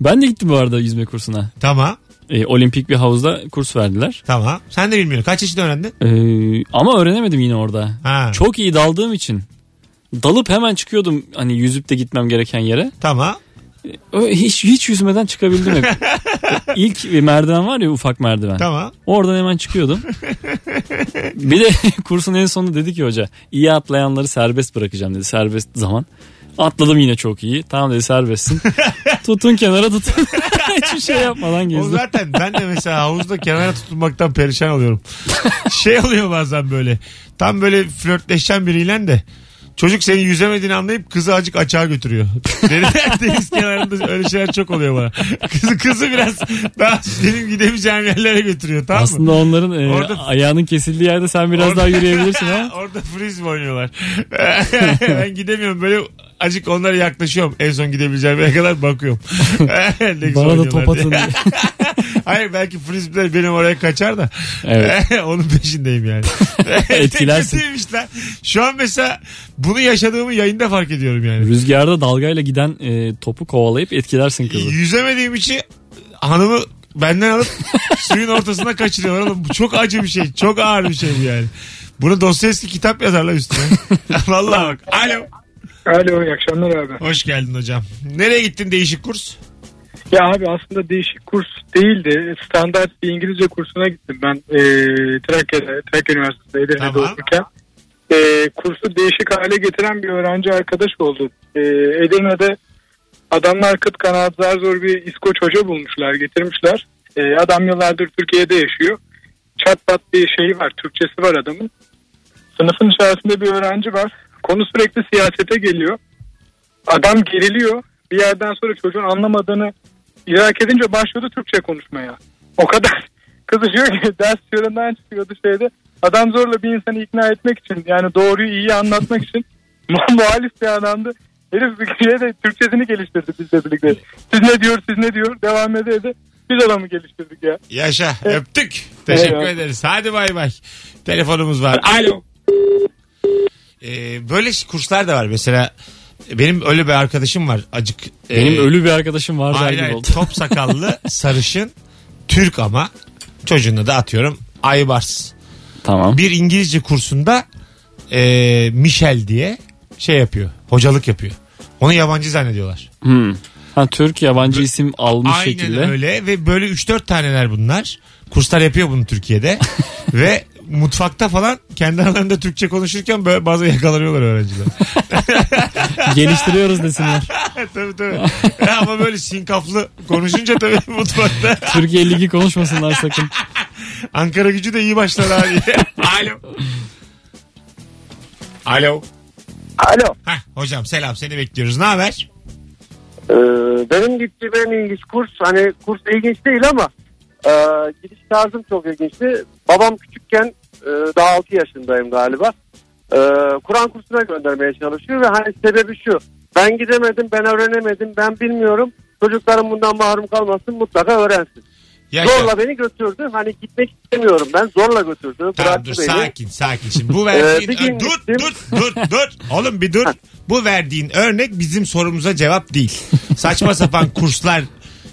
Ben de gittim bu arada yüzme kursuna.
Tamam.
E, olimpik bir havuzda kurs verdiler.
Tamam. Sen de bilmiyorsun. Kaç yaşında öğrendin?
E, ama öğrenemedim yine orada.
Ha.
Çok iyi daldığım için. Dalıp hemen çıkıyordum hani yüzüp de gitmem gereken yere.
Tamam.
Ö- Hiç hiç yüzmeden çıkabildim hep. İlk merdiven var ya ufak merdiven.
Tamam.
Oradan hemen çıkıyordum. bir de kursun en sonunda dedi ki hoca iyi atlayanları serbest bırakacağım dedi serbest zaman. Atladım yine çok iyi. Tamam dedi serbestsin. tutun kenara tutun. Hiçbir şey yapmadan
O
gezdim.
zaten ben de mesela havuzda kenara tutulmaktan perişan oluyorum. şey oluyor bazen böyle. Tam böyle flörtleşen biriyle de çocuk seni yüzemediğini anlayıp kızı acık açığa götürüyor. Deniz- Deniz kenarında öyle şeyler çok oluyor bana. Kızı, kızı biraz daha benim gidemeyeceğim yerlere götürüyor tamam mı?
Aslında onların e,
Orada-
ayağının kesildiği yerde sen biraz
Orada-
daha yürüyebilirsin ha.
Orada frisbee oynuyorlar. ben gidemiyorum böyle acık onlara yaklaşıyorum. En son gidebileceğim yere kadar bakıyorum. Ne güzel
Bana da
oynuyorlar
top atın.
diye. Hayır belki frisbee'ler benim oraya kaçar da.
Evet.
Onun peşindeyim yani.
Etkilersin.
Ne kötüymüş lan. Şu an mesela bunu yaşadığımı yayında fark ediyorum yani.
Rüzgarda dalgayla giden e, topu kovalayıp etkilersin kızı.
Yüzemediğim için hanımı benden alıp suyun ortasına kaçırıyorlar oğlum. Bu çok acı bir şey. Çok ağır bir şey bu yani. Bunu Dostoyevski kitap yazarlar üstüne. Vallahi bak. Alo.
Alo iyi akşamlar abi.
Hoş geldin hocam. Nereye gittin değişik kurs?
Ya abi aslında değişik kurs değildi. Standart bir İngilizce kursuna gittim ben e, Trakya'da, Trakya Üniversitesi'nde Edirne'de
Tamam.
okurken. E, kursu değişik hale getiren bir öğrenci arkadaş oldu. E, Edirne'de adamlar kıt kanaat zar zor bir İskoç hoca bulmuşlar, getirmişler. E, adam yıllardır Türkiye'de yaşıyor. Çat pat bir şeyi var, Türkçesi var adamın. Sınıfın içerisinde bir öğrenci var. Konu sürekli siyasete geliyor. Adam geriliyor. Bir yerden sonra çocuğun anlamadığını idrak edince başladı Türkçe konuşmaya. O kadar kızışıyor ki ders yerinden çıkıyordu şeyde. Adam zorla bir insanı ikna etmek için yani doğruyu iyi anlatmak için mu- muhalif bir adamdı. Herif bir kere de Türkçesini geliştirdi bizle birlikte. Siz ne diyor siz ne diyor devam ede ede biz adamı geliştirdik ya.
Yaşa. Öptük. Teşekkür
Eyvallah.
ederiz. Hadi bay bay. Telefonumuz var. Alo. Ee, böyle kurslar da var. Mesela benim öyle bir arkadaşım var. Acık.
Benim
e,
ölü bir arkadaşım var der
hayır,
gibi
hayır.
oldu.
top sakallı sarışın Türk ama çocuğunu da atıyorum Aybars.
Tamam.
Bir İngilizce kursunda e, Michel diye şey yapıyor. Hocalık yapıyor. Onu yabancı zannediyorlar.
Hmm. Ha, Türk yabancı isim almış
Aynen
şekilde.
öyle ve böyle 3-4 taneler bunlar. Kurslar yapıyor bunu Türkiye'de. ve mutfakta falan kendi aralarında Türkçe konuşurken böyle bazı yakalanıyorlar öğrenciler.
Geliştiriyoruz desinler.
tabii tabii. Ya Ama böyle sinkaflı konuşunca tabii mutfakta.
Türkiye Ligi konuşmasınlar sakın.
Ankara gücü de iyi başlar abi. Alo. Alo.
Alo.
Heh, hocam selam seni bekliyoruz. Ne haber?
Ee, benim gittiğim en ilginç kurs hani kurs ilginç değil ama e, gidiş tarzım çok ilginçti. Babam küçükken e, daha 6 yaşındayım galiba. E, Kur'an kursuna göndermeye çalışıyor ve hani sebebi şu. Ben gidemedim, ben öğrenemedim, ben bilmiyorum. Çocuklarım bundan mahrum kalmasın mutlaka öğrensin. zorla beni götürdü. Hani gitmek istemiyorum ben. Zorla götürdü.
Tamam
bıraktı
dur
beni.
sakin sakin. Şimdi bu
Ee,
verdiğin...
bir gün
dur dur dur dur. Oğlum bir dur. Bu verdiğin örnek bizim sorumuza cevap değil. Saçma sapan kurslar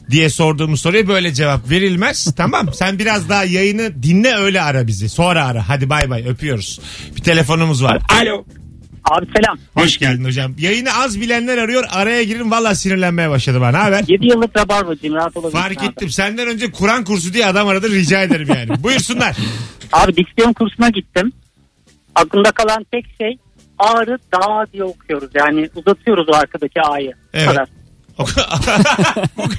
diye sorduğumuz soruya böyle cevap verilmez. Tamam sen biraz daha yayını dinle öyle ara bizi. Sonra ara. Hadi bay bay öpüyoruz. Bir telefonumuz var. Alo.
Abi selam.
Hoş geldin hocam. Yayını az bilenler arıyor. Araya girin valla sinirlenmeye başladım ha. Ne haber?
7 yıllık rabarbacıyım rahat olabilirsin.
Fark ettim. Senden önce Kur'an kursu diye adam aradı. Rica ederim yani. Buyursunlar.
Abi diksiyon kursuna gittim. Aklımda kalan tek şey ağrı dağ diye okuyoruz. Yani uzatıyoruz o arkadaki a'yı.
Evet.
Bu kadar.
Bu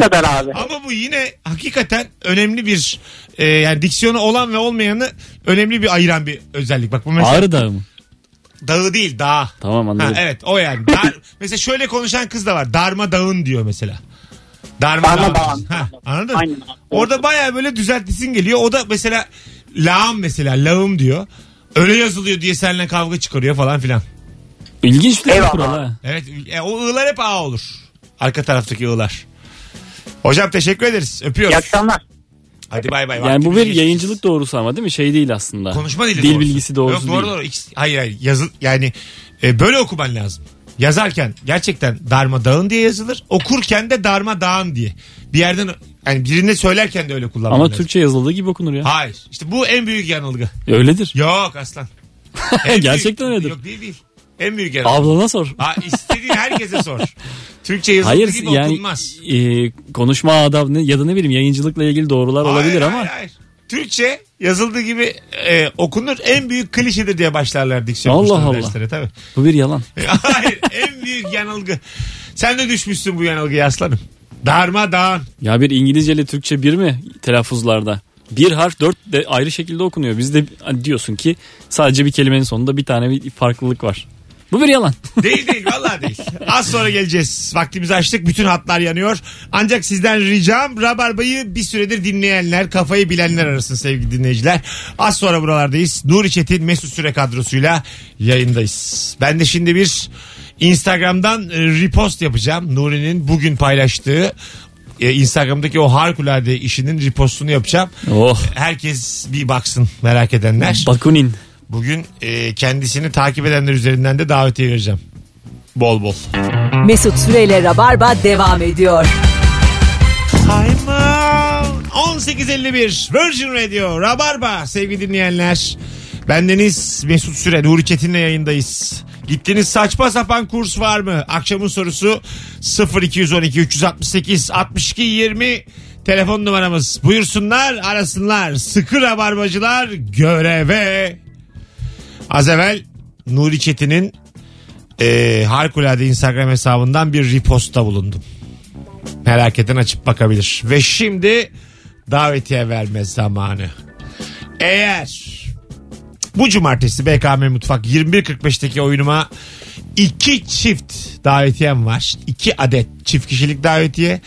kadar abi.
Ama bu yine hakikaten önemli bir e, yani diksiyonu olan ve olmayanı önemli bir ayıran bir özellik. Bak bu mesela
Ağrı dağı mı?
dağı değil dağ.
Tamam
Ha,
anladım.
evet o yani. Dar, mesela şöyle konuşan kız da var. Darma dağın diyor mesela. Darma,
Darma
dağın.
dağın.
Ha, anladın mı? Orada baya böyle düzeltlisin geliyor. O da mesela lağım mesela lağım diyor. Öyle yazılıyor diye seninle kavga çıkarıyor falan filan.
İlginç bir kural ha.
Evet e, o ığlar hep A olur. Arka taraftaki ığlar. Hocam teşekkür ederiz. Öpüyoruz. İyi akşamlar. Hadi bay bay.
Yani bu
Vaktimiz
bir yayıncılık doğrusu ama değil mi? Şey değil aslında.
Konuşma dili
Dil
doğrusu.
bilgisi doğrusu
Yok, doğru,
değil.
Doğru İkisi- Hayır hayır. Yazı, yani e, böyle okuman lazım. Yazarken gerçekten darmadağın diye yazılır. Okurken de darmadağın diye. Bir yerden yani birine söylerken de öyle kullanman
Ama
lazım.
Türkçe yazıldığı gibi okunur ya.
Hayır. İşte bu en büyük yanılgı.
Öyledir.
Yok aslan.
Gerçekten
büyük,
öyledir.
Yok değil değil. En büyük yanılgı.
Ablana sor.
Ha, istediğin herkese sor. Türkçe yazıldığı
Hayır
gibi
yani
okunmaz.
e, konuşma adab ne, ya da ne bileyim yayıncılıkla ilgili doğrular olabilir ama.
Hayır, hayır. Türkçe yazıldığı gibi e, okunur. En büyük klişedir diye başlarlar diksiyon
Allah
kursları
Allah.
derslere tabii. E,
Bu bir yalan.
hayır en büyük yanılgı. Sen de düşmüşsün bu yanılgıya aslanım. Darmadağın.
Ya bir İngilizce ile Türkçe bir mi telaffuzlarda? Bir harf dört de ayrı şekilde okunuyor. Bizde hani diyorsun ki sadece bir kelimenin sonunda bir tane bir farklılık var. Bu bir yalan.
Değil değil vallahi değil. Az sonra geleceğiz. Vaktimizi açtık. Bütün hatlar yanıyor. Ancak sizden ricam Rabarba'yı bir süredir dinleyenler, kafayı bilenler arasın sevgili dinleyiciler. Az sonra buralardayız. Nuri Çetin Mesut Süre kadrosuyla yayındayız. Ben de şimdi bir Instagram'dan e, repost yapacağım. Nuri'nin bugün paylaştığı e, Instagram'daki o harikulade işinin repostunu yapacağım.
Oh.
Herkes bir baksın merak edenler.
Bakunin.
Bugün e, kendisini takip edenler üzerinden de davetiye vereceğim. Bol bol.
Mesut Süreyle Rabarba devam ediyor.
I'm out. 18.51 Virgin Radio Rabarba sevgili dinleyenler. Bendeniz Mesut Süre Nuri Çetin'le yayındayız. Gittiğiniz saçma sapan kurs var mı? Akşamın sorusu 0212 368 62 20 telefon numaramız. Buyursunlar arasınlar. Sıkı rabarbacılar göreve. Az evvel Nuri Çetin'in e, harikulade Instagram hesabından bir repostta bulundum. Merak eden açıp bakabilir. Ve şimdi davetiye verme zamanı. Eğer bu cumartesi BKM Mutfak 21.45'teki oyunuma iki çift davetiyem var. İki adet çift kişilik davetiye.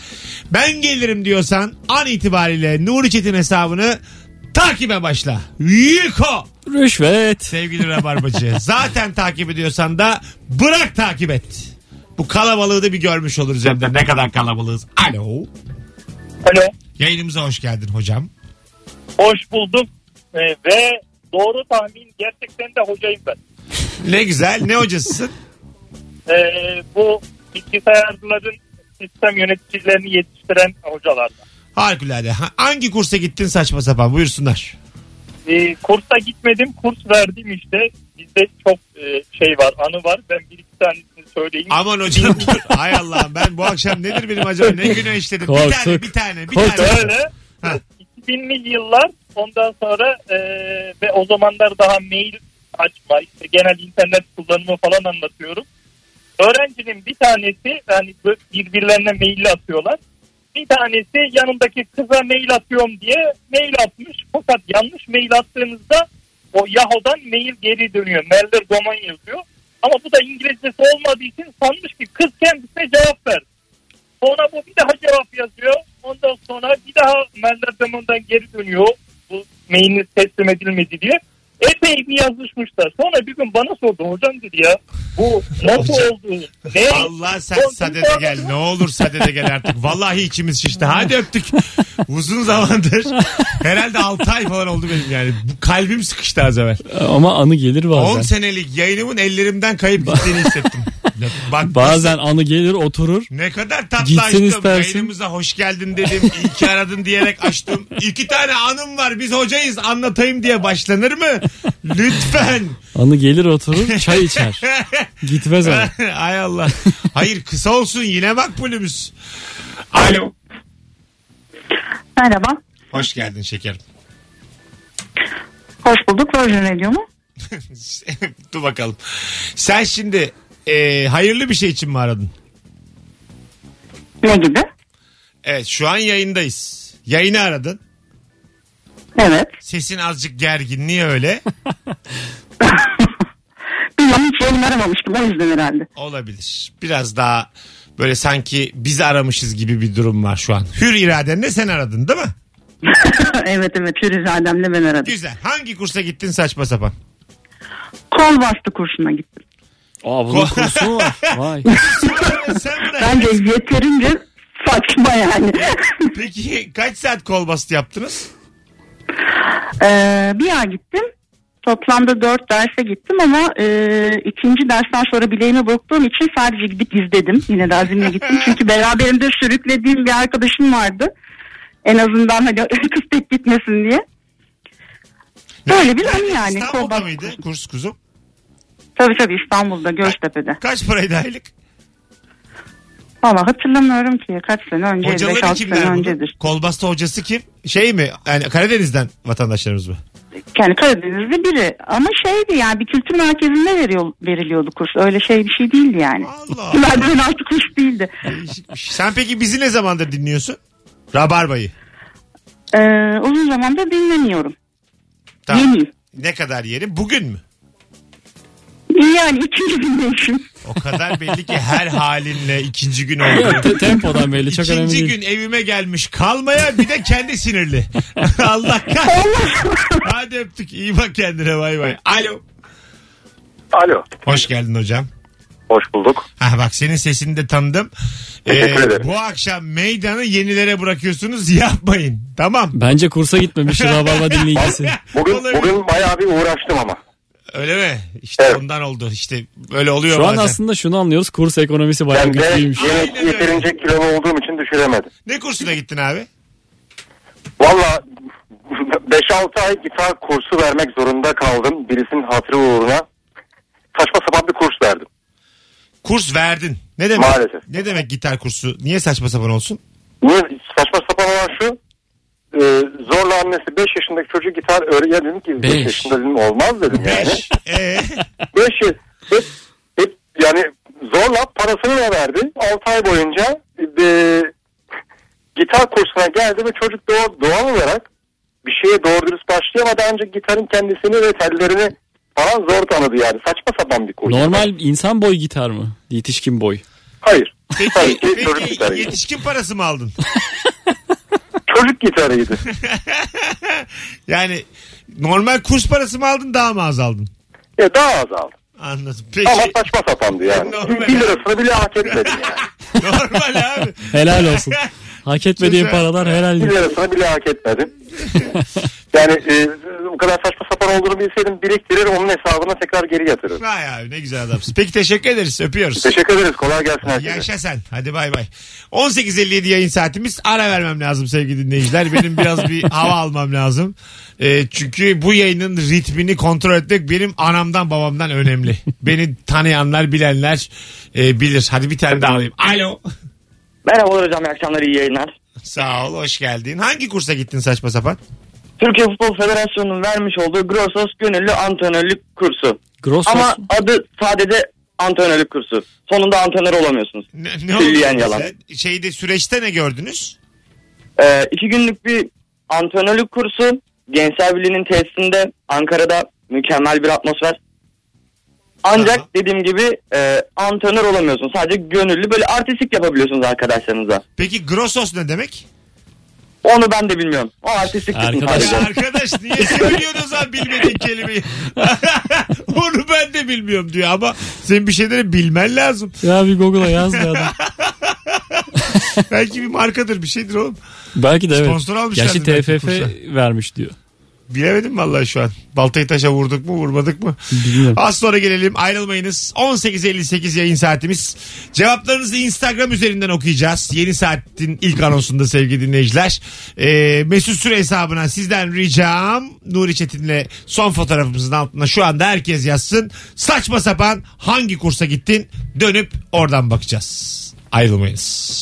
Ben gelirim diyorsan an itibariyle Nuri Çetin hesabını takibe başla. Yiko!
Rüşvet.
Sevgili Rabarbacı. zaten takip ediyorsan da bırak takip et. Bu kalabalığı da bir görmüş oluruz hem de ne kadar kalabalığız. Alo.
Alo.
Yayınımıza hoş geldin hocam.
Hoş bulduk Ee, ve doğru tahmin gerçekten de hocayım ben.
Ne güzel. Ne hocasısın?
Ee, bu bilgisayarcıların sistem yöneticilerini yetiştiren hocalardan.
Harikulade. Ha- Hangi kursa gittin saçma sapan? Buyursunlar.
Ee, kursa gitmedim, kurs verdim işte. Bizde çok e, şey var, anı var. Ben bir iki tanesini söyleyeyim.
Aman hocam. Hay Allah'ım ben bu akşam nedir benim acaba? Ne güne işledim? Bir tane,
Korktuk.
bir tane, bir
Korktuk.
tane.
Öyle.
Ha.
2000'li yıllar ondan sonra e, ve o zamanlar daha mail açma işte genel internet kullanımı falan anlatıyorum. Öğrencinin bir tanesi yani bu- birbirlerine mail atıyorlar. Bir tanesi yanındaki kıza mail atıyorum diye mail atmış. Fakat yanlış mail attığınızda o Yahoo'dan mail geri dönüyor. Merler Goman yazıyor. Ama bu da İngilizcesi olmadığı için sanmış ki kız kendisine cevap verdi. Sonra bu bir daha cevap yazıyor. Ondan sonra bir daha Merler Goman'dan geri dönüyor. Bu mailiniz teslim edilmedi diye. Epey bir yazışmışlar. Sonra bir gün bana sordu hocam dedi ya bu nasıl
Hocam.
oldu?
Şey
Ne?
Allah sen sadede gel. Ne olur sadede gel artık. Vallahi içimiz şişti. Hadi öptük. Uzun zamandır. Herhalde 6 ay falan oldu benim yani. Bu kalbim sıkıştı az evvel.
Ama anı gelir
10
bazen.
senelik yayınımın ellerimden kayıp gittiğini hissettim. Bak
Bazen anı gelir oturur.
ne kadar tatlı
Gitsin
açtım.
istersin.
Yayınımıza hoş geldin dedim. İyi ki aradın diyerek açtım. İki tane anım var. Biz hocayız anlatayım diye başlanır mı? Lütfen.
Anı gelir oturur çay içer. Gitmez ama.
Ay Allah. Hayır kısa olsun yine makbulümüz. Alo.
Merhaba.
Hoş geldin şekerim.
Hoş bulduk. Virgin Radio mu?
Dur bakalım. Sen şimdi e, hayırlı bir şey için mi aradın?
Ne gibi?
Evet şu an yayındayız. Yayını aradın.
Evet.
Sesin azıcık gergin. Niye öyle?
Bilmem hiç yayın aramamıştım. O yüzden herhalde.
Olabilir. Biraz daha böyle sanki biz aramışız gibi bir durum var şu an. Hür iradenle sen aradın değil mi?
evet evet. Hürriz Adem'le ben aradım.
Güzel. Hangi kursa gittin saçma sapan?
Kol bastı kursuna gittim.
Aa
bunun kursu
mu var? Vay.
Bence yeterince saçma yani.
Peki kaç saat kol bastı yaptınız?
Ee, bir ay gittim. Toplamda dört derse gittim ama e, ikinci dersten sonra bileğimi burktuğum için sadece gidip izledim. Yine de azimle gittim. Çünkü beraberimde sürüklediğim bir arkadaşım vardı. En azından hani kız tek gitmesin diye. Böyle bir anı yani.
İstanbul'da mıydı kurs kuzum?
Tabii tabii İstanbul'da Göztepe'de.
Kaç paraydı aylık?
Valla hatırlamıyorum ki kaç sene önce.
Hocaları
5-6 sene
kimler bunun?
öncedir.
Kolbasta hocası kim? Şey mi? Yani Karadeniz'den vatandaşlarımız mı?
Yani Karadeniz'de biri ama şeydi yani bir kültür merkezinde veriyor, veriliyordu kurs. Öyle şey bir şey değildi yani.
Allah
Merdiven altı kurs değildi.
Sen peki bizi ne zamandır dinliyorsun? Rabarbayı.
Ee, uzun zamandır dinlemiyorum.
Tamam.
Yeniyim.
Ne kadar yeni? Bugün mü?
Yani ikinci dinleyişim.
O kadar belli ki her halinle ikinci gün oldu.
Te- tempodan belli, çok
ikinci
önemli değil.
gün evime gelmiş kalmaya bir de kendi sinirli. Allah kahretsin. Hadi öptük. İyi bak kendine bay bay. Alo.
Alo.
Hoş geldin hocam.
Hoş bulduk.
Ha bak senin sesini de tanıdım. Ee,
Teşekkür ederim.
Bu akşam meydanı yenilere bırakıyorsunuz yapmayın. Tamam.
Bence kursa gitmemiş Rabarba dinleyicisi.
Bugün, bugün bayağı bir uğraştım ama.
Öyle mi? İşte ondan oldu. İşte böyle oluyor
Şu an
bazen.
aslında şunu anlıyoruz. Kurs ekonomisi bayağı
Ben de
güçlüymüş.
yine yeterince kilolu olduğum için düşüremedim.
Ne kursuna gittin abi?
Valla 5-6 ay gitar kursu vermek zorunda kaldım. Birisinin hatırı uğruna. Saçma sapan bir kurs verdim.
Kurs verdin. Ne demek?
Maalesef.
Ne demek gitar kursu? Niye saçma sapan olsun?
Niye saçma sapan olan şu. e, zorla annesi 5 yaşındaki çocuğu gitar öğren. Ya dedim ki 5
Beş.
yaşında dedim olmaz dedim yani.
Ee?
5 yaş. hep- hep Yani zorla parasını da verdi. 6 ay boyunca e, gitar kursuna geldi ve çocuk doğal, doğal olarak bir şeye doğru dürüst başlayamadı ancak gitarın kendisini ve tellerini falan zor tanıdı yani. Saçma sapan bir kurs.
Normal insan boy gitar mı? Yetişkin boy.
Hayır. Tabii
Peki,
ki çocuk
peki
gitarıydı.
yetişkin parası mı aldın?
Çocuk gitarıydı.
Yani normal kurs parası mı aldın daha mı az aldın?
Ya E, daha az aldım.
Anladım. Peki.
Ama saçma sapandı yani. 1
Normal.
lirasını bile hak etmedi yani.
Normal abi.
Helal olsun. Hak etmediğin
Güzel.
paralar helal.
1 lirasını bile hak etmedim. yani e, bu kadar saçma sapan olduğunu bilseydim biriktirir onun hesabına tekrar geri yatırırım.
Vay abi ne güzel adamsın. Peki teşekkür ederiz. Öpüyoruz.
Teşekkür ederiz. Kolay gelsin herkese.
Yaşa sen. Hadi bay bay. 18.57 yayın saatimiz. Ara vermem lazım sevgili dinleyiciler. Benim biraz bir hava almam lazım. Ee, çünkü bu yayının ritmini kontrol etmek benim anamdan babamdan önemli. Beni tanıyanlar bilenler e, bilir. Hadi bir tane daha alayım. Alo.
Merhabalar hocam iyi akşamlar iyi yayınlar.
Sağ ol hoş geldin. Hangi kursa gittin saçma sapan?
Türkiye Futbol Federasyonu'nun vermiş olduğu Grossos Gönüllü Antrenörlük Kursu.
Grossos
Ama adı sadece antrenörlük kursu. Sonunda antrenör olamıyorsunuz.
Ne,
Külliyen
oldu
yalan.
bize? Şeyde süreçte ne gördünüz?
Ee, iki günlük bir antrenörlük kursu Gençler Birliği'nin tesisinde Ankara'da mükemmel bir atmosfer. Ancak dediğim gibi e, antrenör olamıyorsun. Sadece gönüllü böyle artistik yapabiliyorsunuz arkadaşlarınıza.
Peki Grossos ne demek?
Onu ben de bilmiyorum. O artistik kısmı sadece.
Ya arkadaş niye söylüyorsun o zaman bilmediğin kelimeyi? Onu ben de bilmiyorum diyor ama senin bir şeyleri bilmen lazım.
Ya bir Google'a yaz be adam.
Belki bir markadır bir şeydir oğlum.
Belki de evet.
Sponsor almışlardır
Gerçi
belki
TFF
kursa.
vermiş diyor.
Bilemedim vallahi şu an. Baltayı taşa vurduk mu vurmadık mı?
Bilmiyorum.
Az sonra gelelim ayrılmayınız. 18.58 yayın saatimiz. Cevaplarınızı Instagram üzerinden okuyacağız. Yeni saatin ilk anonsunda sevgili dinleyiciler. Ee, Mesut Süre hesabına sizden ricam Nuri Çetin'le son fotoğrafımızın altına şu anda herkes yazsın. Saçma sapan hangi kursa gittin dönüp oradan bakacağız. Ayrılmayınız.